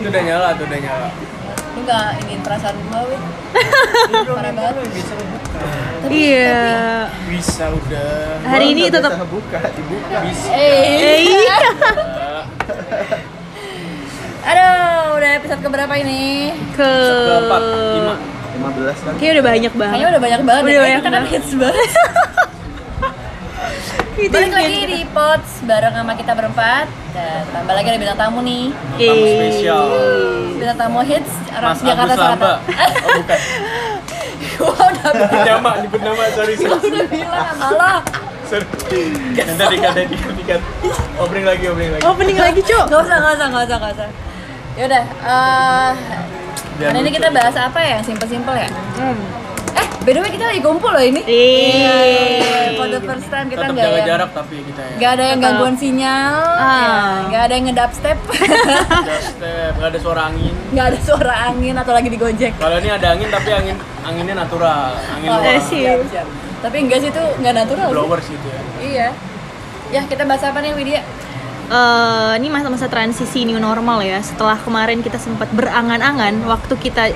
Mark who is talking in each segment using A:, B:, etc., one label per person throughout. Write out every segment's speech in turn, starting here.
A: Itu udah nyala, tuh udah nyala.
B: Lu nggak ingin perasaan gua, Win? Parah banget.
A: Bisa dibuka.
C: Iya.
A: Bisa udah.
C: Hari ini tetap
D: buka, dibuka.
A: Bisa.
B: Eh,
C: Eh, iya.
B: aduh, udah episode keberapa ini?
C: Ke
A: Keempat, lima.
D: 15 kan.
C: Kayaknya udah banyak banget.
B: Kayaknya udah banyak banget.
C: Udah
B: ya,
C: banyak
B: karena
C: banget.
B: hits banget.
C: Itu
B: Balik
C: yang
B: lagi di Pots bareng sama kita berempat dan tambah lagi ada bintang tamu nih.
A: Tamu
C: gitu.
A: spesial.
B: Bintang tamu hits orang
A: Mas
B: Jakarta
A: Agus Lamba.
B: Selatan.
A: Oh, bukan.
B: Gua udah
A: Nyebut nama, nyebut nama, sorry. sorry.
B: udah bilang sama lo.
A: Sorry. Nanti dikat, nanti dikat, dikat. Obring lagi, obring lagi.
C: Oh,
B: Oh,
C: Opening lagi, Cuk.
B: Gak usah, gak usah, gak usah, gak usah. Yaudah, eh
A: Jangan
B: hari nah, ini
A: lucu.
B: kita bahas apa ya? Yang simpel-simpel ya? Eh, by the way kita lagi kumpul loh
C: Iya.
B: ini. Iya, Eh,
C: Yeay.
B: For the first time kita
A: Tetap
B: nggak
A: jaga
B: yang-
A: jarak tapi kita ya.
B: nggak ada yang
C: Tetap.
B: gangguan sinyal,
C: Ah.
B: ya, nggak ada yang ngedubstep,
A: Nggak step, nggak ada suara angin.
B: nggak ada suara angin atau lagi digojek.
A: Kalau ini ada angin tapi angin anginnya natural, angin
B: Oh,
A: luar.
C: eh, sih.
B: siap, siap. Tapi enggak sih itu nggak natural. sih.
A: Blower sih itu ya.
B: Iya. Ya kita bahas apa nih Widya?
C: Eh, ini masa-masa transisi new normal ya. Setelah kemarin kita sempat berangan-angan waktu kita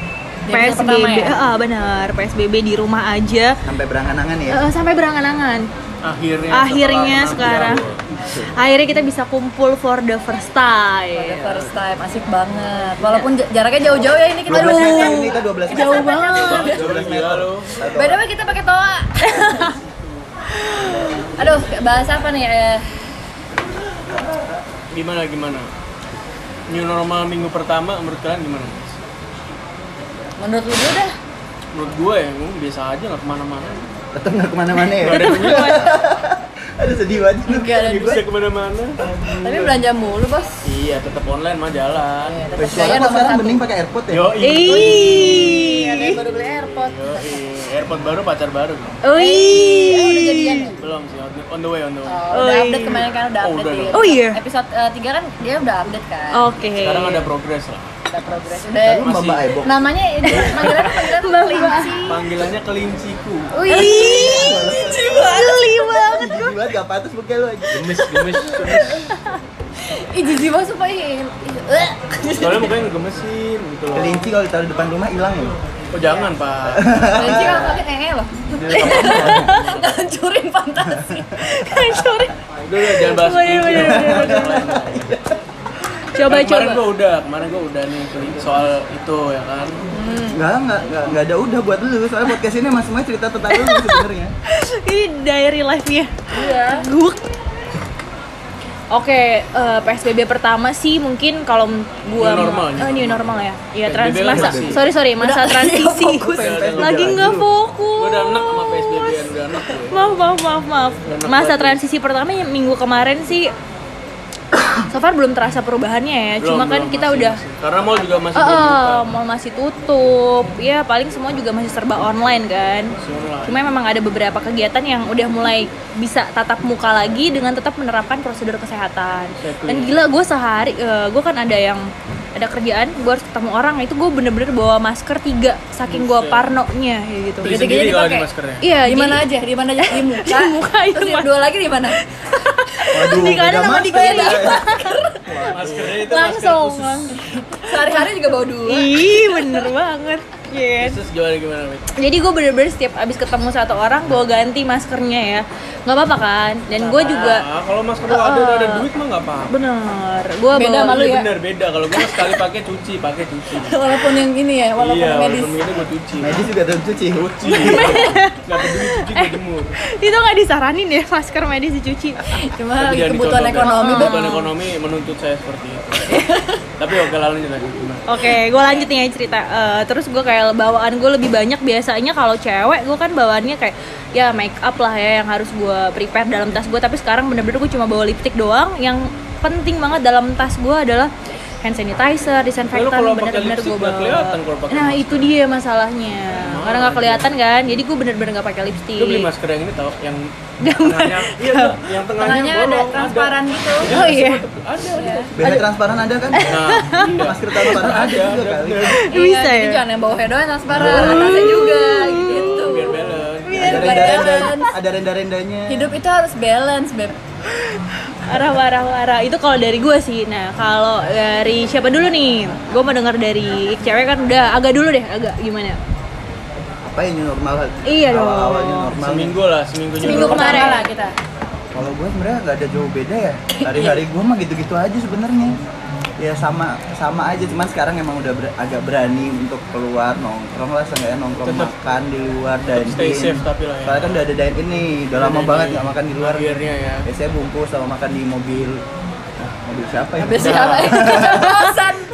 B: pertama
C: PSBB,
B: ya?
C: Ah, benar PSBB di rumah aja
D: Sampai berangan-angan ya.
C: eh, sampai berangan-angan.
A: Akhirnya.
C: Akhirnya
A: setelah
C: sekarang
A: enam tahun.
C: akhirnya kita bisa kumpul for the first
B: For the
C: time.
B: first time asik banget. Walaupun j- jaraknya jauh-jauh ya ini kita
D: 12 meter
B: Aduh.
D: ini kita 12 meter.
C: Jauh banget.
D: 12 meter.
A: Gila lu.
D: Satu
B: By the
D: orang.
B: way kita pakai toa. Aduh, bahas apa nih? Eh,
A: Gimana gimana? New normal minggu pertama menurut kalian gimana?
B: menurut lu dulu dah.
A: Menurut gue ya, gue biasa aja nggak kemana-mana.
D: Tetep nggak kemana-mana ya.
A: Nggak ada duit,
D: Aduh sedih banget.
B: Nggak
D: lu.
B: ada
A: nggak
B: duit.
A: bisa kemana-mana.
B: Tapi belanja mulu, Bos.
A: Iya, tetap online mah jalan.
B: Iya, tetap
D: Wih,
B: gaya
D: Suara kok
B: nomor
D: sekarang
B: satu.
D: bening pakai airpod ya.
A: Yo,
B: Iya,
C: Ih.
B: kayak baru beli airpod.
A: Airpod baru pacar baru.
B: Eh,
C: Ih.
B: udah jadian. nih?
A: Belum sih, on the- on the way, on the way.
B: Oh, udah
C: Oi.
B: update kemarin kan udah
A: Oh,
B: update
A: udah
B: di
A: dong.
C: Oh, iya. Oh.
B: episode 3 kan dia udah update kan.
C: Oke.
A: Sekarang ada progres lah.
B: Udah progres.
D: Lalu
B: Udah
A: Masih-
D: Mbak Aibok.
B: namanya ini panggilannya panggilan
C: Mbak Mbak.
B: kelinci.
A: Panggilannya kelinciku.
B: Wih,
C: Ih. Geli banget.
D: Sedih banget gak pantas muka lu aja.
A: Gemes, gemes, gemes.
B: ih jijik banget sumpah ih. ih, eh.
A: Soalnya mukanya ngegemesin gitu loh.
D: Kelinci kalau ditaruh di depan rumah hilang ya.
A: Oh jangan, Pak.
B: Kelinci kalau kan pakai ee loh. Hancurin fantasi. Hancurin.
A: Udah, udah, jangan bahas
C: Boleh,
A: kelinci.
C: boleh, boleh, boleh, Coba
A: Kan Kemarin
C: coba.
A: gue udah, kemarin gue udah nih kelinci soal itu ya kan.
D: Enggak, enggak, enggak, enggak ada udah buat lu. Soalnya podcast ini emang semua cerita tentang lu sebenarnya.
C: Ini diary life-nya.
B: Iya.
C: Guk. Oke, eh, PSBB pertama sih mungkin kalau gua
A: New normal,
C: eh, new normal ya. Iya,
A: PSBB
C: trans
A: kan
C: masa.
A: masih.
C: Sorry, sorry, masa
B: Udah,
C: transisi.
B: nggak fokus.
C: Lagi nggak fokus.
A: Gue udah enak sama PSBB, -an, udah enak ya. gue.
C: Maaf, maaf, maaf, maaf.
A: Enak
C: Masa
A: banget.
C: transisi pertama yang minggu kemarin sih so far belum terasa perubahannya ya.
B: Eh,
C: Cuma
A: Belum,
C: kan
A: belum,
C: kita
A: masih-
C: udah
A: masih. Karena mall juga masih belum buka.
C: Oh, mall masih tutup. Ya, paling semua juga masih serba online kan.
A: Masih online.
C: Cuma memang ada beberapa kegiatan yang udah mulai bisa tatap muka lagi dengan tetap menerapkan prosedur kesehatan.
A: Exactly.
C: Dan gila gue sehari, gue kan ada yang ada kerjaan, gue harus ketemu orang. Itu gue bener-bener bawa masker tiga, saking gue
A: Buset.
C: parnonya kayak gitu.
A: Beli
B: Gitu-gitu
A: sendiri kalau di
B: dipakai.
A: maskernya.
C: Iya,
B: Di mana
C: jadi-
B: aja? Di mana aja? Di muka.
C: Di muka, iya,
B: Terus yang
C: Mas.
B: dua lagi di mana?
D: Waduh, ya.
C: Di kanan
D: beda
C: sama di
D: masker.
C: kiri.
B: Iya.
A: Maskernya itu
C: Langsung.
A: masker
B: Sehari-hari juga bawa dua.
C: Iya. Ih, bener banget. Yes.
A: khusus. Terus gimana gimana? Mit?
C: jadi gue bener-bener setiap abis ketemu satu orang gue ganti maskernya ya nggak apa-apa kan dan gue juga
A: Ah, kalau masker lu ada udah ada duit mah nggak apa-apa.
C: bener gue
B: Beda sama lu
A: Iya,
B: ya?
A: Bener beda kalau gue sekali pakai cuci, pakai cuci.
B: Walaupun yang ini ya, walaupun
A: iya,
B: medis.
A: walaupun itu gue cuci. Iya.
D: Medis juga tetap cuci.
A: Cuci. Gak peduli cuci
B: Eh,
A: gue jemur.
C: itu nggak disaranin ya masker medis dicuci
A: Tapi
B: Cuma
A: Ah.
B: lagi
A: jangan
B: kebutuhan
A: dicontoh,
B: ekonomi,
A: Beb.
B: Beb.
A: Kebutuhan ekonomi menuntut saya seperti itu. Tapi oke lalu lanjut gimana?
C: Oke, gue lanjut nih ya cerita. Eh, terus gue kayak bawaan gue lebih banyak biasanya kalau cewek gue kan bawaannya kayak ya make up lah ya yang harus gue prepare dalam tas gue. Tapi sekarang bener-bener gue cuma bawa lipstick doang. Yang penting banget dalam tas gue adalah hand sanitizer,
A: Lalu
C: disinfektan
A: kalau pakai
C: bener-bener
A: lipstick
C: gue
A: nggak
C: bawa.
A: kelihatan kalau pakai
C: nah
A: masker.
C: itu dia masalahnya. Karena nggak kelihatan kan, jadi gue bener-bener nggak pakai lipstick.
A: Lu
B: Iya.
A: beli masker yang ini tau yang tengahnya iya tau, yang tengahnya,
B: Tengahnya ada
A: bolong,
B: transparan gitu.
C: Oh iya,
A: Ada, ada.
D: BH transparan ada kan?
A: Nah, iya.
D: Masker transparan ada
A: Ada,
D: juga
A: ada,
D: kali.
A: bener.
B: Iya,
C: Bisa
B: jadi
C: ya?
B: jangan yang bawa hedoan transparan, atasnya juga gitu.
A: Nah, biar balance.
D: Ada
B: Biar
D: renda-rendanya,
B: balance.
D: ada renda-rendanya.
B: Hidup itu harus balance, Beb.
C: Parah, parah, parah. Itu kalau dari gue sih. Nah, kalau dari siapa dulu nih? Gue mau dengar dari cewek kan udah agak dulu deh, agak gimana?
D: Apa ini normal?
C: Iya dong.
D: Awal-awalnya normal.
A: Seminggu lah, seminggu
C: Seminggu
A: juga.
C: kemarin.
B: Pertama lah kita.
D: Kalau gue sebenarnya nggak ada jauh beda ya. Hari-hari gue mah gitu-gitu aja sebenarnya. Ya sama sama aja, cuman sekarang emang udah ber- agak berani untuk keluar nongkrong lah, seenggaknya nongkrong
A: Tetep-
D: makan di luar dan
A: stay safe tapi lah ya.
D: Soalnya kan udah ada dine in nih, udah lama
A: Dine
D: banget
A: in.
D: nggak makan di luar.
A: Akhirnya ya.
D: Biasanya bungkus sama makan di mobil. Nah, mobil siapa ya?
B: Habis siapa? Bosan.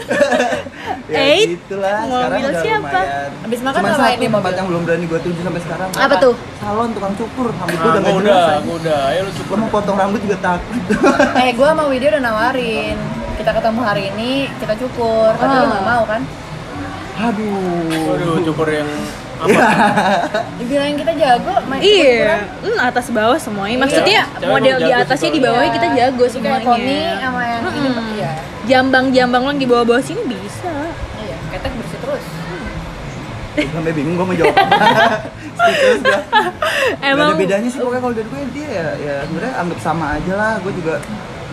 D: ya
C: Eight.
D: gitulah
C: Mobil
D: sekarang udah
C: siapa?
D: lumayan
B: Abis makan
D: Cuman
B: ngapain
D: satu
B: di mobil?
D: tempat yang belum berani gue tuju sampai sekarang
C: Apa tuh?
D: salon tukang cukur rambut
A: Nah,
D: gue udah
A: gua
D: nggak
A: udah,
D: jelas
A: gua udah. Ayo lu cukur.
D: gue mau potong rambut juga takut
B: Eh, gue sama Widya udah nawarin. Kita ketemu hari ini, kita cukur. Tapi lu gak mau kan?
D: aduh
A: Waduh, cukur yang apa?
B: Iya.
D: Ya.
B: Dibilangin kita jago, main
C: Iya, Hmm, atas bawah semuanya. Maksudnya
A: Iya. Cewek
C: model
A: emang
C: di
A: jago sih
C: atasnya
A: kalau
C: di bawahnya kita jago
B: Iya. Kayak Tommy
C: semuanya.
B: sama yang ini iya.
C: Jambang-jambang lo yang di bawah-bawah sini bisa.
B: Iya, ketek bersih terus.
D: sampai bingung gue mau jawab apa Speechless gua. Nggak
C: Emang
D: ada bedanya sih pokoknya kalau dari gue dia ya, ya sebenarnya anggap sama aja lah gue juga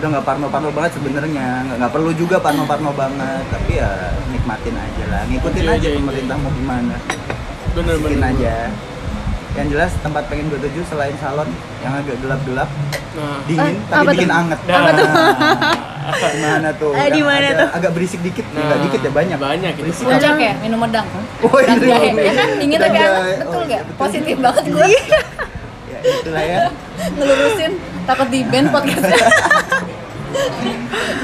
D: udah nggak parno-parno banget sebenarnya nggak nggak perlu juga parno-parno banget tapi ya nikmatin aja lah ngikutin
A: Iya,
D: aja
A: iya,
D: pemerintah mau gimana
A: Bener bener.
D: ngikutin aja yang jelas tempat pengen gue tuju selain salon yang agak gelap-gelap
A: Nah,
C: Eh,
D: dingin tapi
C: apa
D: bikin
C: tuh?
D: anget
A: Nah. Apa tuh?
D: Nah, gimana tuh
C: Eh, di
D: Yang
C: mana
D: agak,
C: tuh?
D: agak berisik dikit
A: Nah,
D: nggak dikit ya banyak
A: banyak itu.
D: berisik
B: Kocak ya, minum medang.
D: Oh,
B: Dan
D: itu
B: jahe.
D: jahe.
B: Ya kan, dingin
D: Dan
B: tapi anget.
D: jahe.
B: Betul
D: Oh,
B: gak?
D: iya, betul.
B: Positif banget gue
D: ya itulah ya
B: ngelurusin. Takut di band podcastnya.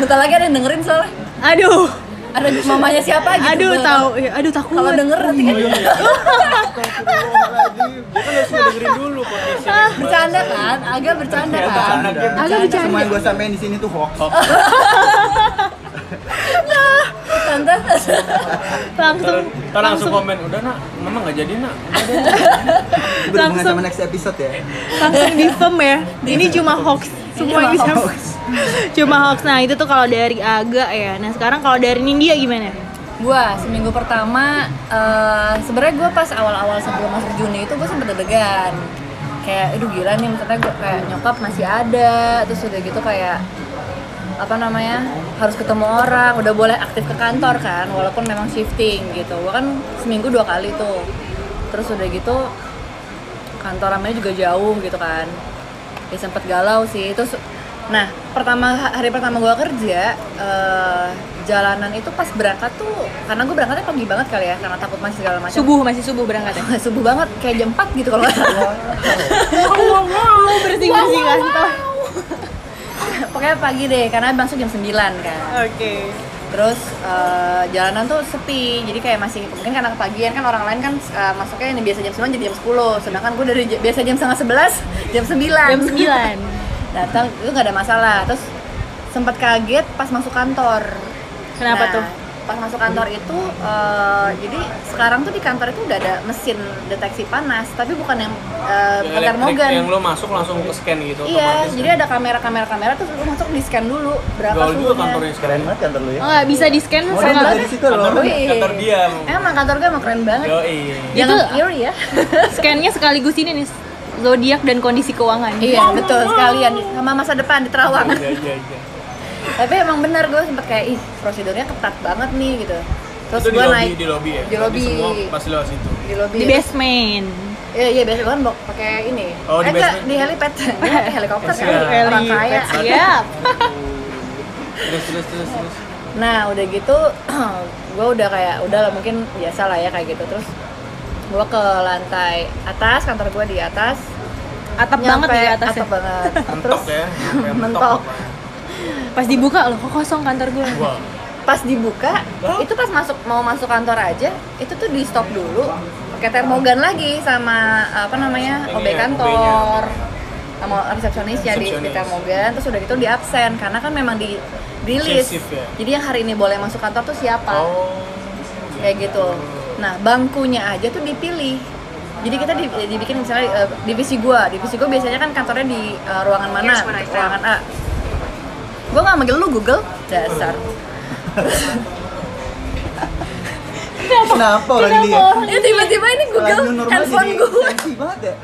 B: Bentar lagi ada yang dengerin soalnya.
C: aduh.
B: Ada mamanya siapa gitu.
C: Aduh
B: Gua-
C: tahu, ya, aduh takut.
B: Kalau denger nanti kan
A: Gua kan harus dengerin dulu Iya, podcastnya.
B: bercanda kan, agak bercanda
A: Ternyata
B: kan.
A: anaknya
D: Bercanda.
C: Agak bercanda.
D: semua yang gue sampein di sini tuh hoax
B: Tante,
A: Ntar
C: langsung
A: ntar langsung komen, udah nak, mama nggak jadi nak.
D: Itu berhubungan
C: Langsung.
D: sama next episode ya
C: langsung difem ya ini cuma hoax
B: cuma
C: semua ini sama- cuma hoax nah itu tuh kalau dari Aga ya nah sekarang kalau dari Nindya gimana
B: gua seminggu pertama eh, sebenarnya gua pas awal-awal sebelum masuk Juni itu gua sempet deg-degan kayak aduh gila nih maksudnya gua kayak nyokap masih ada terus udah gitu kayak apa namanya harus ketemu orang udah boleh aktif ke kantor kan walaupun memang shifting gitu gua kan seminggu dua kali tuh terus udah gitu kantor ramai juga jauh gitu kan ya sempet galau sih terus nah pertama hari pertama gua kerja eh, jalanan itu pas berangkat tuh karena gue berangkatnya pagi banget kali ya karena takut masih segala macam
C: subuh masih subuh berangkat ya
B: subuh banget kayak jam 4 gitu kalau nggak salah.
C: wow wow bersih bersih kantor
B: pokoknya pagi deh karena masuk jam 9 kan
C: oke
B: terus eh, jalanan tuh sepi jadi kayak masih mungkin karena kepagian kan orang lain kan eh, masuknya yang biasa jam 9 jadi jam 10 sedangkan gue dari j- biasa jam setengah 11 jam 9
C: jam 9
B: datang itu nggak ada masalah terus sempat kaget pas masuk kantor Nah.
C: Kenapa tuh?
B: pas masuk kantor itu eh, jadi sekarang tuh di kantor itu udah ada mesin deteksi panas tapi bukan yang eh, bukan
A: Elektrik
B: termogan
A: yang lo masuk langsung ke scan gitu.
B: iya
A: otomatis
B: jadi
A: kan.
B: ada kamera kamera kamera terus lu masuk di scan dulu berapa
A: Gaul juga
B: suhunya.
A: kantornya sekarang.
D: keren banget kantor lu ya
C: oh, bisa di scan
D: mau
B: Keren
D: dari
B: banget.
D: situ loh
A: Kantor,
B: Wih.
A: kantor dia.
B: iya, emang kantor gue emang keren banget
A: Yoi.
B: jangan
C: Itu-
B: iri ya
C: scannya sekaligus ini nih zodiak dan kondisi keuangan
B: iya betul sekalian sama masa depan di terawang
A: Iya iya iya.
B: tapi emang benar gue sempet kayak ih prosedurnya ketat banget nih gitu terus
A: Itu di
B: gue
A: lobby-
B: naik
A: di lobby ya.
B: di lobby
A: Semua pasti lewat situ.
B: di lobby
C: di basement
B: iya iya biasa gue kan bawa- pakai ini
A: Oh, di
B: eh enggak
A: basement.
B: di helipad Gua pakai helikopter kan
A: Iya.
B: orang kaya
C: siap
A: Terus terus terus terus.
B: nah udah gitu gue udah kayak udah lah mungkin biasa lah ya kayak gitu terus gue ke lantai atas kantor gue di atas
C: atap banget
B: Nyampe
C: di atasnya
B: atap banget
A: Mentok ya. Kayak
B: mentok.
C: pas dibuka loh kok kosong kantor gue
A: Wah.
B: pas dibuka
A: Hah?
B: itu pas masuk mau masuk kantor aja itu tuh di stop dulu pakai termogan lagi sama apa namanya
A: Ini
B: OB
A: ya,
B: kantor sama resepsionisnya di, di
A: Resepsionis.
B: termogan terus udah gitu di absen karena kan memang di di list
A: Shift-shift ya?
B: jadi yang hari ini boleh masuk kantor tuh siapa
A: Oh.
B: kayak gitu nah bangkunya aja tuh dipilih jadi kita di- dibikin misalnya eh, divisi gua divisi gua biasanya kan kantornya di eh, ruangan mana ruangan A gua nggak manggil lu Google dasar
D: kenapa orang dia
B: ya tiba-tiba ini Google
D: Lalu normal
B: handphone
D: jadi
B: gue
D: sensi banget ya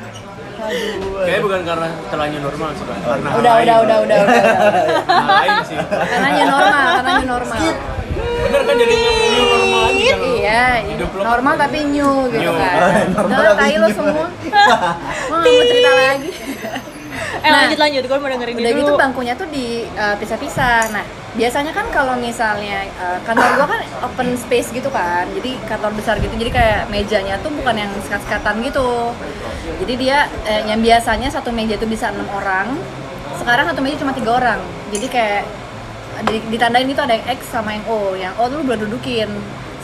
A: Kayaknya bukan karena terlanjur normal sih, Pak. Karena hal
B: Udah,
A: lain.
B: udah, udah, udah, udah, udah.
A: Hal lain sih.
B: Karena new normal, karena new normal.
A: Bener kan jadinya new normal aja kan lu?
B: Iya,
A: Hidup lo.
B: normal tapi new gitu
A: New.
B: kan.
D: Normal
B: Udah,
D: tapi
B: tai lo
D: new.
B: semua. Wah, nggak mau cerita lagi.
C: Eh lanjut lanjut, gue mau dengerin
B: Nah. Udah
C: dulu.
B: gitu bangkunya tuh di uh, pisah-pisah. Nah, biasanya kan kalau misalnya uh, kantor gua kan open space gitu kan. Jadi kantor besar gitu. Jadi kayak mejanya tuh bukan yang sekat-sekatan gitu. Jadi dia eh, yang biasanya satu meja itu bisa enam orang. Sekarang satu meja cuma tiga orang. Jadi kayak di- ditandain itu ada yang X sama yang O. Yang O tuh lu boleh dudukin.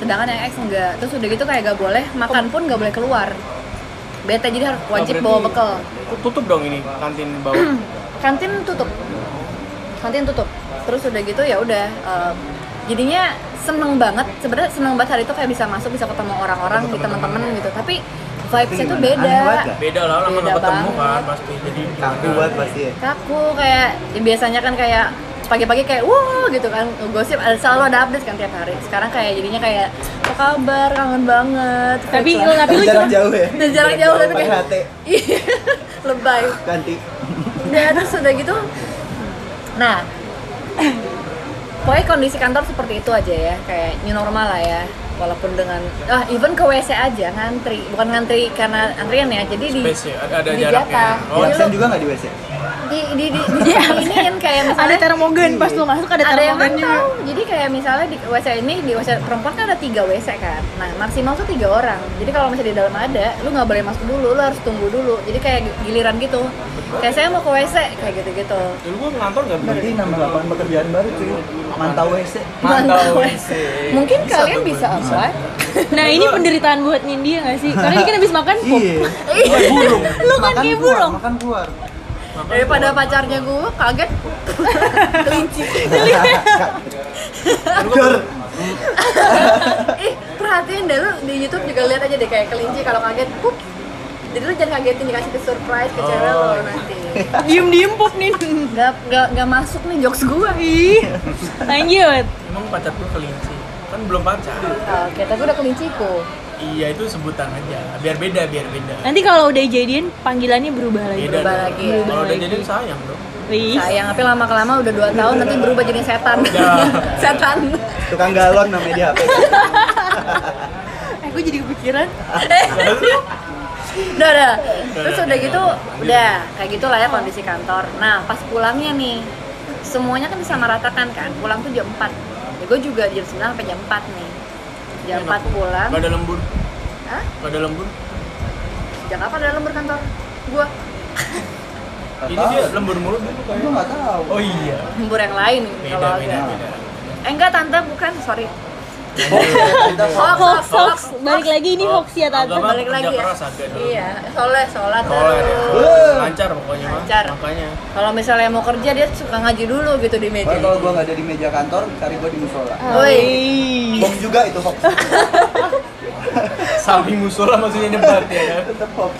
B: Sedangkan yang X enggak. Terus udah gitu kayak gak boleh makan pun gak boleh keluar. Bete jadi harus
A: Nah,
B: wajib
A: berarti
B: bawa bekal.
A: Tutup dong ini kantin bawah.
B: kantin tutup kantin tutup terus udah gitu ya udah em, jadinya seneng banget sebenarnya seneng banget hari itu kayak bisa masuk bisa ketemu orang-orang di teman-teman gitu tapi vibesnya tuh
D: Tapi gimana?
B: beda
D: Aneh banget nggak?
A: Beda lah, lama
B: Beda
A: nggak ketemu
B: banget.
A: kan pasti. Jadi
D: Kaku banget pasti ya.
B: kaku kayak ya biasanya kan kayak pagi-pagi kayak wow gitu kan gosip ada selalu ada update kan tiap hari sekarang kayak jadinya kayak apa kabar kangen banget
C: Tapi
B: Gitu.
C: lu tapi lu
D: Jarak
C: cuma
D: jauh ya.
B: Dari jarak jauh tapi
D: Pakai
B: kayak
D: hati
B: iya lebay
D: ganti.
B: udah terus udah gitu nah pokoknya kondisi kantor seperti itu aja ya kayak new normal lah ya walaupun dengan ah even ke WC aja ngantri bukan ngantri karena antrian ya jadi di
A: Space ya, ada- ada
B: di Iya.
A: jaraknya.
B: jatah.
A: Oh,
D: Di
B: Jadi
D: absen
B: lu
D: juga nggak di WC?
B: di di di, di ini kan kayak
C: Iya. ada
B: misalnya
C: termogen pas lu masuk ada
B: ada yang
C: termogen juga.
B: mantau jadi kayak misalnya di WC ini di WC perempuan kan ada tiga WC kan nah maksimal tuh tiga orang jadi kalau misalnya di dalam ada lu nggak boleh masuk dulu lu harus tunggu dulu jadi kayak giliran gitu kayak saya mau ke WC kayak gitu gitu
A: Dulu gua ngantor nggak
D: Berarti nambah lapangan pekerjaan baru cuy. Mantau WC.
A: Mantau
B: Mantau.
A: WC.
B: Mungkin
D: Bisa
B: kalian
D: tuh,
B: bisa
D: Bun. Bisa.
B: apa?
C: Nah ini penderitaan buat Nindi ya nggak sih? Karena dia kan habis makan pup.
D: Iya.
A: Bukan burung.
C: Lu kan
D: Makan
C: kayak
D: keluar,
C: burung.
D: Makan keluar.
B: Daripada pacarnya gue kaget kelinci.
D: Dor.
B: Eh, Ih, perhatiin deh lu di YouTube juga lihat aja deh kayak kelinci kalau kaget pup. Jadi lu jangan kagetin dikasih ke surprise ke cewek
A: Oh.
B: lo nanti.
C: Diem diem pup nih.
B: Gak, gak, gak masuk nih jokes gue.
C: Ih, lanjut.
A: Emang pacar lu kelinci? Kan belum pacar.
B: Oke, tapi udah kelinciku.
A: Iya itu sebutan aja. Biar beda, biar beda.
C: Nanti kalau udah jadian panggilannya berubah lagi.
A: Beda
D: Iya.
B: Berubah
A: dong.
B: lagi ya.
A: Kalau udah
C: Berubah
A: jadi sayang dong.
C: Wih.
B: Sayang, tapi lama-kelama udah 2 tahun nanti berubah jadi setan.
A: Udah.
B: setan.
D: Tukang galon namanya di HP.
C: Eh, gue jadi kepikiran.
B: udah udah Nah, terus udah gitu udah kayak gitu lah ya kondisi kantor nah pas pulangnya nih semuanya kan disamaratakan kan pulang tuh jam 4 ya, gue juga jam 9 sampai jam 4 nih jam 4 pulang
A: Gak ada lembur.
B: Hah?
A: Gak ada lembur.
B: sejak kapan ada lembur kantor gue
A: Ini dia lembur mulu dulu
D: Gue
A: kayaknya.
D: nggak tahu.
A: Oh iya.
B: lembur yang lain gitu
A: Beda,
B: kalau
A: beda,
B: ada
A: beda.
B: eh enggak tante bukan sorry
D: Oh,
B: Hoax,
C: Hoax, hoax.
B: hoax.
C: Balik lagi ini hoax ya tante.
A: Agama
B: balik
A: kerja
B: lagi ya
A: keras ada dong.
B: iya soleh sholat
A: Soleh ya.
B: terus
A: Lancar pokoknya mah.
B: Lancar.
A: Makanya.
B: kalau misalnya mau kerja dia suka ngaji dulu gitu di meja
D: kalau gue nggak ada di meja kantor, cari gue di musola.
B: Woi,
D: Hoax juga itu hoax.
A: Samping musola maksudnya nyebar ya kan.
D: Tetap hoax.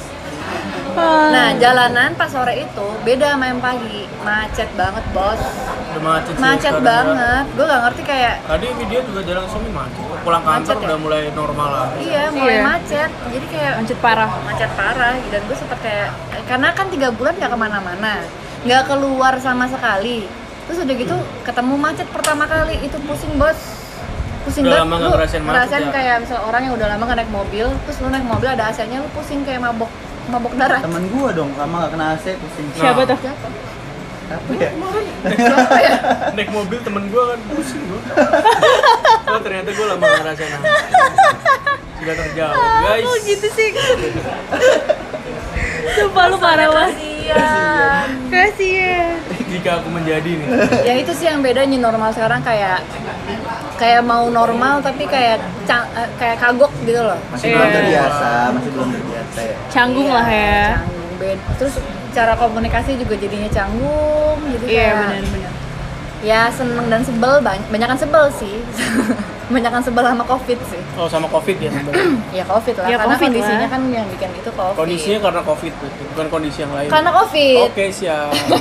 C: Ah.
B: nah jalanan pas sore itu beda sama yang pagi, macet banget bos.
A: Udah macet sih
B: macet
A: sekarang,
B: banget gue gak ngerti kayak
A: Kak. Tadi ini dia juga jalan sini macet. Pulang kantor
B: Macet ya?
A: udah mulai normal lagi.
B: iya mulai
C: Iya.
B: macet jadi kayak
C: Lanjut parah.
B: macet parah dan gue sempet kayak karena kan tiga bulan gak kemana-mana nggak keluar sama sekali terus udah gitu ketemu macet pertama kali itu pusing bos pusing
A: Udah
B: banget
A: lama nggak
B: Lu
A: ngerasain macet
B: ngerasain
A: ya?
B: kayak misal orang yang udah lama gak naik mobil terus lu naik mobil ada AC-nya lu pusing kayak mabok mabok darah
D: Temen gue dong, lama nggak kena AC pusing.
C: Siapa tuh?
B: Siapa? ya?
D: Apa ya?
B: Siapa ya?
A: Naik mobil temen gue kan pusing gue. Oh ternyata gue lama ngerasain apa. Sudah terjauh
B: Ah,
A: guys.
C: Kok gitu sih? Sumpah lu parah banget.
B: Kasian.
C: Kasian.
A: Jika aku menjadi nih.
B: ya itu sih yang beda new normal sekarang kayak kayak mau normal tapi kayak ca- eh, kayak kagok gitu loh
C: Iya.
D: Masih belum terbiasa, masih belum terbiasa ya.
C: Canggung
B: Iya,
C: lah ya.
B: canggung beda terus cara komunikasi juga jadinya canggung jadi
C: Iya
B: kayak
C: benar-benar.
B: ya seneng dan sebel banyak banyakan sebel sih kebanyakan sebel sama covid sih
A: Oh sama covid ya sebenarnya.
B: ya covid lah
C: Ya,
B: karena
C: COVID
B: kondisinya
C: lah.
B: kan yang bikin itu covid
A: Kondisinya karena covid berarti, bukan kondisi yang lain.
B: karena covid
A: Oke siap.
D: Uh,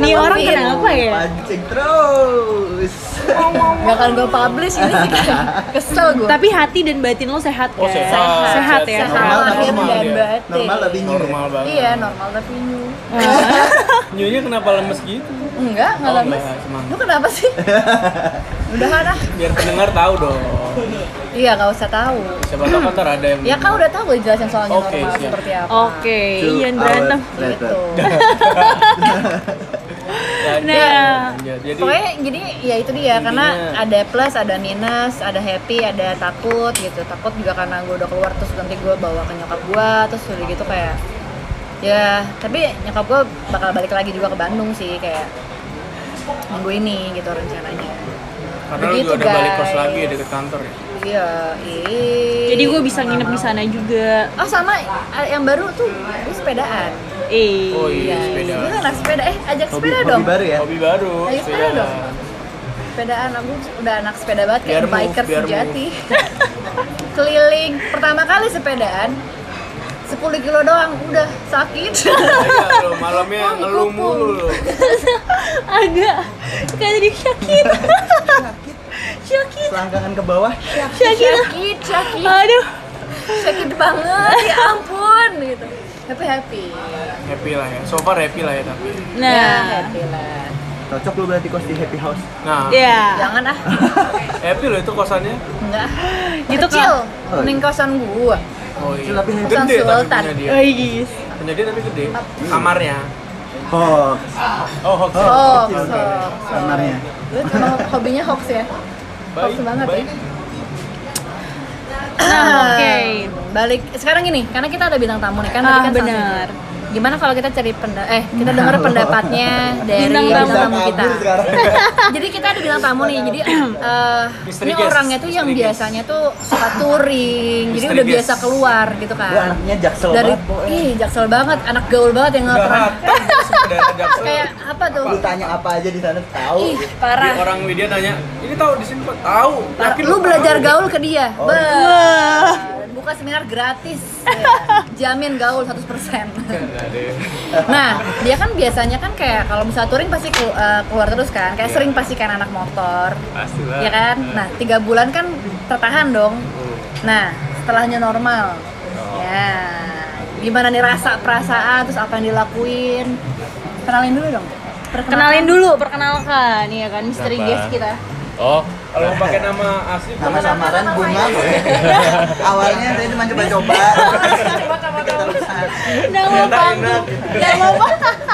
C: Ini
B: Kenapa
C: orang
B: sih?
C: kenapa ya?
D: pancing terus.
B: Gak akan gue publish ini sih kayak kesel gue
C: Tapi hati dan batin lo sehat
A: Oh,
C: kan?
A: sehat.
C: Sehat ya.
B: sehat
A: Normal,
B: lahir
A: normal
B: dan
A: dia.
B: batin
D: Normal lebih new.
A: Normal banget.
B: iya normal tapi new
A: Nyonya kenapa lemes gitu?
B: enggak nggak
A: Oh,
B: lemes
A: enggak, semangat.
B: lu kenapa sih udahan ah
A: Biar pendengar tahu dong.
B: iya nggak usah tahu
A: Siapa tahu kan ntar ada yang.
B: ya kan udah tahu gue jelasin soalnya
A: Oke,
B: normal
A: siap.
B: seperti apa
C: Oh, Oke,
D: Two
C: Ian
D: hours
C: berantem.
D: later.
B: gitu
A: Lanjut,
C: Nah.
A: lanjut. Jadi
B: pokoknya jadi ya itu dia
A: Intinya-
B: karena ada plus ada minus ada happy ada takut gitu takut juga karena gue udah keluar terus nanti gue bawa ke nyokap gue terus udah gitu kayak ya tapi nyokap gue bakal balik lagi juga ke Bandung sih kayak minggu ini gitu rencananya
A: karena lu juga
B: begitu,
A: udah balik kos
B: guys.
A: lagi ya deket kantor ya.
B: iya ih.
C: Jadi gue bisa nginep di sana juga.
B: oh sama eh, yang baru tuh gue sepedaan
C: Eh.
A: Oh iya,
B: Guys,
A: sepeda.
B: gue anak sepeda eh ajak
D: Hobi,
B: sepeda
D: hobi
B: dong
D: baru ya.
A: Hobi baru.
B: Iya. Ayo, sepeda dong. sepedaan aku udah anak sepeda banget kayak
A: Biar move,
B: biker
A: biar
B: sejati keliling pertama kali sepedaan 10 kilo doang udah sakit
A: Iya, lo malamnya
B: Wah,
A: ngeluh
B: dikukul.
A: mulu lo.
C: Agak kayak jadi Syakir. Syakir.
D: Selangkangan ke bawah.
C: Syakir.
B: sakit sakit
C: Aduh.
B: sakit banget ya ampun gitu happy happy
A: Happy lah ya. So far happy lah ya tapi.
B: ya
C: Nah.
B: happy lah
D: Cocok lu berarti kos di Happy House.
A: Nah,
C: Ya.
B: jangan ah
A: happy lo itu kosannya.
B: enggak
C: Gitu,
B: kecil
D: Kak.
B: mending kosan gua
A: Oh iya.
D: Tapi
B: kosan
A: Gede tapi
B: sultan.
A: punya dia.
C: Oh iya.
A: Punya dia tapi gede. Hmm. Kamarnya.
D: Hoax
A: Oh, hoax.
B: hoax
D: kecil,
B: hoax,
D: kan?
B: hoax.
D: Kamarnya.
B: lu emang hobinya hoax ya
A: Baik,
B: hoax banget
A: baik.
B: ya
C: Nah, oke.
B: balik sekarang gini karena kita ada bintang tamu nih kan tadi
C: Ah,
B: kan
C: benar.
B: salah. gimana kalau kita cari penda eh kita dengar pendapatnya dari
C: Bintang
B: bintang
C: tamu.
B: tamu,
D: Iya, Bisa
B: kita
D: kabur sekarang.
B: jadi kita ada bintang tamu nih jadi eh,
A: Misteri
B: ini
A: guest.
B: orangnya tuh yang
A: Misteri guest.
B: biasanya tuh suka touring jadi
A: Misteri
B: udah
A: guest.
B: biasa keluar gitu
D: Lu
B: kan
D: anaknya jaksel
B: dari
D: banget. pokoknya.
B: ih jaksel banget anak gaul banget yang nggak
A: Udah
B: pernah
A: hatam sepeda jaksel.
B: kayak apa tuh
D: Lu tanya apa aja di sana tahu.
B: ih
A: Di
B: parah
A: orang media tanya, ini tahu di sini Pak? tahu.
B: Parah.
A: Yakin
B: Nah, lu belajar
A: tahu?
B: gaul ke dia
D: Oh.
B: Be-
C: Wah.
B: buka seminar gratis ya. jamin gaul 100%
A: Enggak deh.
B: Nah, dia kan biasanya kan kayak kalau misalnya touring pasti kelu- eh, keluar terus kan, kayak sering pasti kan anak motor,
A: Pastilah.
B: ya kan? Nah, tiga bulan kan tertahan dong. Nah, setelahnya normal. Ya, gimana nih rasa perasaan terus apa yang dilakuin? Kenalin dulu dong. Perkenalan.
C: Kenalin dulu, perkenalkan ya kan misteri guest kita.
E: Oh,
A: Kalau pakai nama asli
D: Nama
A: boleh.
D: samaran bunga lo ya. Awalnya saya cuma coba-coba.
C: Udah
A: Ternyata
C: lupa.
A: enak.
C: Udah lupa.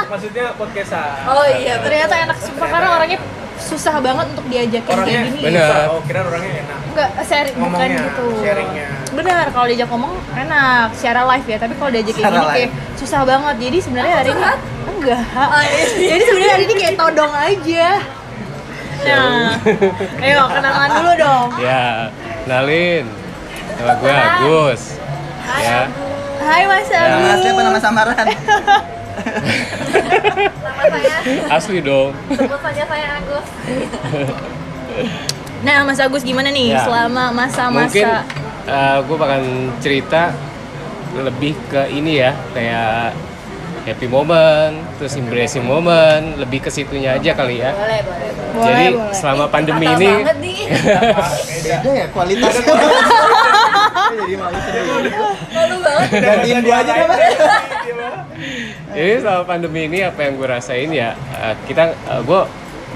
A: Maksudnya podcastan.
B: Oh iya, bener.
C: Ternyata enak sumpah karena orangnya susah banget untuk diajakin
A: Orangnya
C: kayak gini.
E: Bener.
A: susah. Oh, kira orangnya enak.
C: Enggak, seri, bukan
A: Ngomongnya,
C: gitu.
A: sharingnya.
C: Benar, kalau diajak ngomong enak secara live ya, tapi kalau diajak kayak
D: Secara
C: gini kayak
D: live.
C: susah banget. Jadi sebenarnya hari ini enggak. Jadi sebenarnya hari ini kayak todong aja. Nah, ayo kenalan dulu dong.
E: ya, Nalin. Nama gue Agus. Ya.
C: Hai Mas
D: Nama
C: Agus.
D: asli apa nama samaran?
B: Nama saya,
E: Asli dong.
B: ya? sebut saja saya Agus.
C: Nah, Mas Agus gimana nih
E: Ya.
C: selama
E: Mungkin eh,
C: masa-masa
E: gue akan cerita lebih ke ini ya, kayak happy moment, terus embracing moment, lebih ke situnya aja kali ya.
B: Boleh, boleh.
C: Boleh,
E: Jadi
C: boleh.
E: selama pandemi
B: Fatal
E: ini
B: banget nih.
D: Beda ya kualitasnya. Jadi malu sendiri.
B: Malu banget.
D: Gantiin gua aja deh, Mas.
E: Jadi selama pandemi ini apa yang gue rasain ya eh, kita gue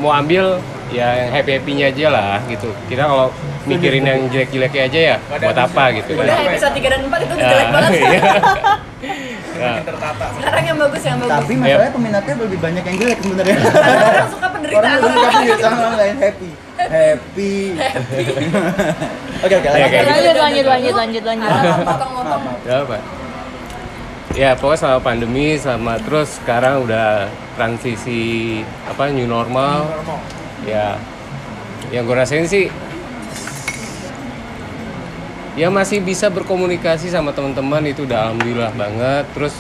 E: mau ambil ya yang happy happynya aja lah gitu. Kita kalau mikirin yang jelek jeleknya aja ya
A: Gak ada
E: buat apa gitu
B: Udah
E: kan.
B: episode 3 dan 4 itu udah
E: Ya,
B: jelek banget.
E: iya. Ya.
A: Makin tertata.
B: Sekarang yang bagus yang bagus.
E: Iya.
D: Tapi masalahnya peminatnya lebih banyak yang jelek sebenarnya.
B: Karena orang suka penderitaan
D: Orang
B: orang.
D: lebih kasih sama orang lain happy. Happy. Oke oke.
E: Oke,
D: lanjut.
E: oke.
C: lanjut lanjut lanjut lanjut lanjut.
B: Potong-potong.
E: Ya, Pak. Ya, pokoknya selama pandemi sama terus sekarang udah transisi apa new normal. Ya. Yang gue rasain sih ya masih bisa berkomunikasi sama teman-teman itu udah alhamdulillah banget. Terus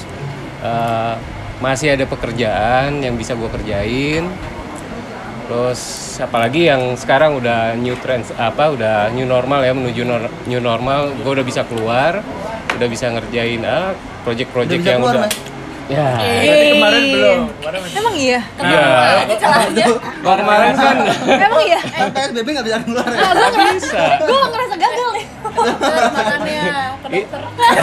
E: eh, masih ada pekerjaan yang bisa gue kerjain. Terus apalagi yang sekarang udah new trends apa udah new normal ya menuju nor- new normal, gue udah bisa keluar, udah bisa ngerjain ah project-project
D: Udah bisa
E: yang
D: keluar,
E: udah
D: Mas?
E: ya.
A: Berarti kemarin belum. Kemarin masih-
C: Emang iya?
E: Iya. Kalau kemarin kan
C: Emang iya?
D: Eh, PSBB nggak bisa keluar ya?
E: nggak bisa.
C: Gue ngerasa gagal nih
B: makannya ke
E: Ih,
B: dokter.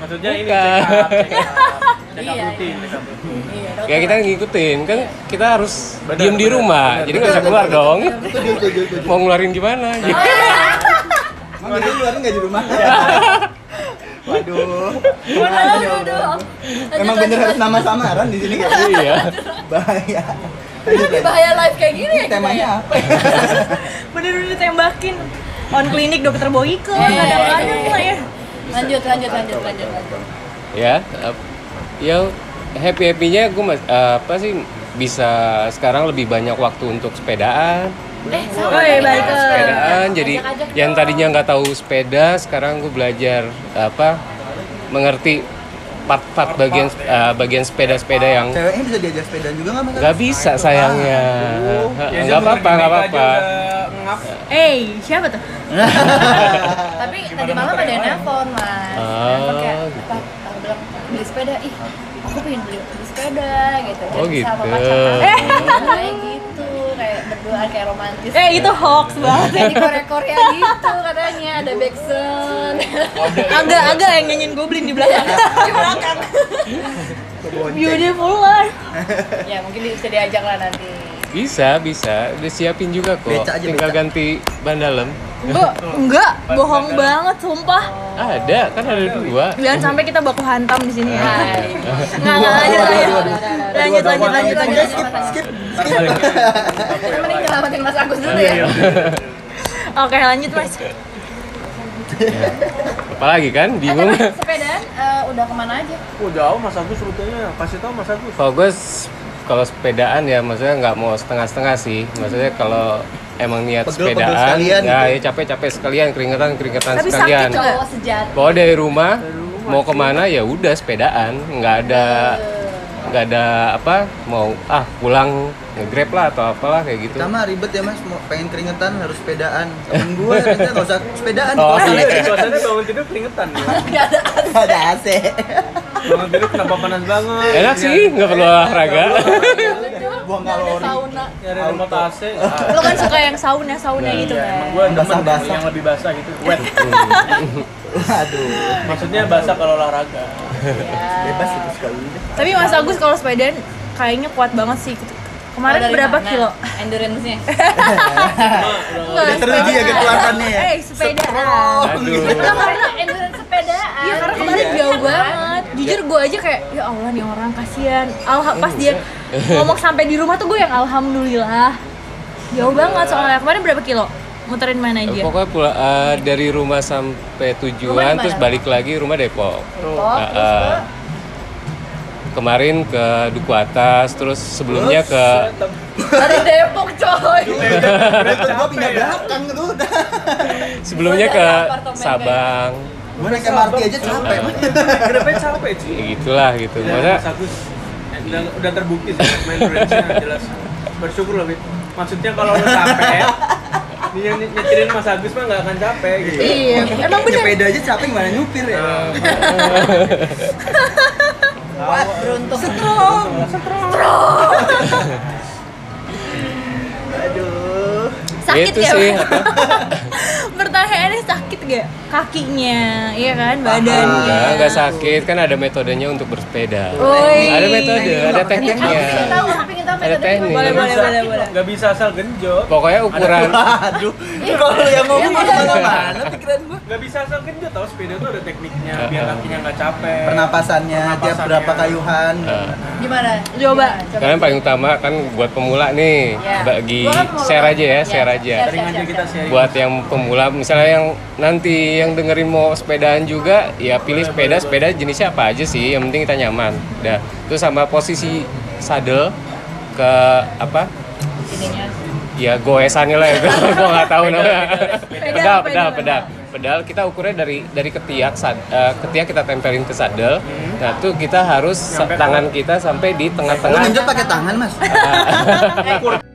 A: Maksudnya ini
E: Bukan.
A: check up, check up, check up
B: Iya,
A: rutin, check up rutin.
B: Iya,
E: Ya
B: dokter.
E: kita ngikutin kan kita harus
A: Benar,
E: diem di
A: benar,
E: rumah,
A: benar.
E: jadi nggak bisa keluar dong.
D: Tujuh, tujuh, tujuh.
E: Mau ngeluarin gimana?
B: Oh,
E: Gitu.
D: Emang dia keluarin nggak di rumah? Waduh.
B: Gimana lu, aduh, aduh. Lanjut,
D: Emang
B: lanjut,
D: bener harus
B: lanjut.
D: nama samaran di sini kayaknya.
E: Iya.
D: Bahaya.
B: Lebih bahaya live kayak gini ya kita
D: Temanya
B: ya?
D: apa? ya?
C: Bener-bener ditembakin On klinik dokter Boyke
B: Eh,
C: Gak ada
B: eh,
C: kanan
B: eh.
C: lah ya
B: Lanjut, lanjut, lanjut, lanjut, lanjut.
E: ya eh, ya happy happynya gue apa sih bisa sekarang lebih banyak waktu untuk sepedaan Nah,
B: Eh, sama.
C: Woi, balik ke-
E: sepedaan jadi
B: Ajak-ajak
E: yang
B: dong.
E: tadinya nggak tahu sepeda sekarang gue belajar apa mengerti part-part bagian eh, bagian sepeda-sepeda
A: ya.
E: yang
D: Ceweknya bisa diajak sepeda juga nggak? Mas?
E: nggak bisa sayangnya
A: Biasanya
E: nggak apa-apa
A: mereka
E: nggak
A: aja
E: apa-apa Iya.
A: udah ngap.
C: Eh, siapa tuh?
B: Tapi tadi malam ada yang nelfon, Mas.
E: Ah,
B: Nelfon kayak,
E: gitu.
B: "Pak, aku bilang beli sepeda, ih aku pengen beli, beli sepeda gitu.
E: Oh,
B: Jadi Sama
E: gitu.
B: pacar aku,
E: Eh.
B: kayak gitu, kayak berduaan kayak romantis.
C: Eh, itu hoax banget
B: Kayak di Korea-Korea gitu katanya ada Backson.
E: Oh.
C: Agak-agak yang nyanyiin goblin di belakang Di belakang Beautiful life
B: ya mungkin bisa diajak lah nanti.
E: bisa bisa udah siapin juga kok
D: Beca aja,
E: tinggal
D: beca.
E: ganti ban dalam
C: Enggak, enggak, bohong banget, sumpah
E: ada kan ada dua
C: Jangan sampai kita baku hantam di sini ya nah,
B: Hai.
C: Nggak, nggak, lanjut, lanjut Lanjut, lanjut, lanjut, lanjut
D: Skip.
B: Kita mending nyelamatin Mas Agus dulu
E: Iya.
B: ya.
C: Oke, lanjut mas
E: apalagi kan bingung
B: Tapi sepedaan eh, udah kemana aja?
A: Oh jauh Mas Agus rutenya, kasih tahu Mas Agus.
E: Kalau gue s- kalau sepedaan ya maksudnya nggak mau setengah-setengah sih. Maksudnya kalau emang niat
D: Pegel-pegel
E: sepedaan,
D: sekalian
E: ya
D: gitu.
E: ya capek-capek sekalian, keringetan-keringetan
C: Tapi sakit
E: sekalian.
C: nggak?
B: Cowok sejati.
E: Bawa dari rumah, mau kemana ya udah sepedaan, nggak ada nggak ada apa mau ah pulang ngegrab lah atau apalah kayak gitu.
D: Kita mah ribet ya mas, mau pengen keringetan harus sepedaan. Temen gue kita nggak usah sepedaan.
E: Oh,
D: kosan
E: iya.
D: aja.
A: Suasana bangun tidur keringetan. ya.
B: Gak ada.
D: Nggak ada AC.
A: Bangun tidur kenapa panas banget?
E: Enak
A: Ya,
E: sih, nggak perlu olahraga.
D: Buang
B: Gak ada
D: kalori.
B: sauna.
A: Nyari remote AC. Ah,
C: Lo kan suka yang sauna,
A: Nah,
C: sauna gitu kan
A: Iya, Gua demen
D: Basah-basah.
A: yang lebih basah gitu, wet.
D: Aduh,
A: Maksudnya basah kalau olahraga.
D: bebas itu sekali.
C: Tapi Mas Agus kalau sepedaan kayaknya kuat banget sih. Kemarin
B: Kalau dari
C: berapa
B: mana?
C: kilo? Eh,
B: Endurance-nya.
D: Udah teruji ya ketuatannya ya.
C: Eh, sepedaan.
B: Nah,
E: Aduh.
B: karena endurance sepedaan.
C: Iya, karena kemarin jauh banget. Jujur gue aja kayak, ya Allah nih orang kasihan. Alha pas dia ngomong sampai di rumah tuh gue yang alhamdulillah. Jauh banget soalnya. Kemarin berapa kilo? Muterin mana aja?
E: Pokoknya pula, eh, dari rumah
B: Rumah
E: sampai
B: di
E: tujuan
B: mana?
E: terus balik lagi rumah Depok.
B: Oh,
E: Ah, ah. kemarin ke Duku Atas, terus sebelumnya ke
B: dari Depok coy.
E: Iya.
D: Berarti gue pindah belakang tuh udah.
E: sebelumnya
B: Gua
E: ke
B: dari apartemen,
E: Sabang,
D: Gue naik MRT aja capek mas.
A: Kenapa capek sih?
C: Iya,
E: ya gitulah gitu.
A: Ya,
E: Maksudnya,
A: Mas Agus eh, udah, udah terbukti sih main range-nya jelas. Bersyukur loh, Fit. Maksudnya kalau lo capek, dia ny- nyetirin Mas Agus mah nggak akan capek gitu. Eh,
C: Iya, emang bener.
D: Sepeda aja capek gimana nyupir ya?
B: Kuat, beruntung.
D: Aduh.
C: Sakit
E: itu
C: ya?
E: sih apa,
C: Pertanyaannya sakit gak? Kakinya, iya kan?
E: nggak
B: Ah.
C: Badannya.
E: nggak sakit kan ada metodenya untuk bersepeda.
C: Woi.
E: Ada metode, ada
B: Aku
E: tekniknya.
B: pengen tahu, aku pengen tahu
E: Ada
B: metodenya
E: teknik.
C: Nah, Boleh, boleh, boleh, boleh.
A: Nggak bisa asal genjot.
E: Pokoknya ukuran
D: Aduh. Kalau lu yang ngomong kemana-mana pikiran gue.
A: Nggak bisa asal genjot, tau sepeda tuh ada tekniknya biar
C: Iya.
A: kakinya nggak capek.
D: Pernapasannya, tiap
A: Pernapasannya.
D: berapa kayuhan.
E: eh,
B: Gimana?
C: Coba.
E: karena yang paling utama kan buat pemula nih
B: Ya.
E: bagi
B: Gua kan pemula.
E: share aja ya,
B: Ya,
E: share aja.
B: share.
A: Sering aja kita
C: Iya,
A: sharing.
E: buat yang pemula misalnya yang nanti yang dengerin mau sepedaan juga ya pilih sepeda sepeda jenisnya apa aja sih yang penting kita nyaman dah terus sama posisi saddle ke apa
B: Ininya.
E: ya goesannya lah ya gue nggak tahu namanya
C: Pedal,
E: pedal
C: pedal,
E: pedal pedal pedal kita ukurnya dari dari ketiak sad- eh, ketiak kita tempelin ke sadel
C: Hmm.
E: nah tuh kita harus sa-
A: Nyampe ke-
E: tangan kita sampai di
D: Lu
E: tengah-tengah
D: ngenjot pakai tangan, Mas.
A: Ukur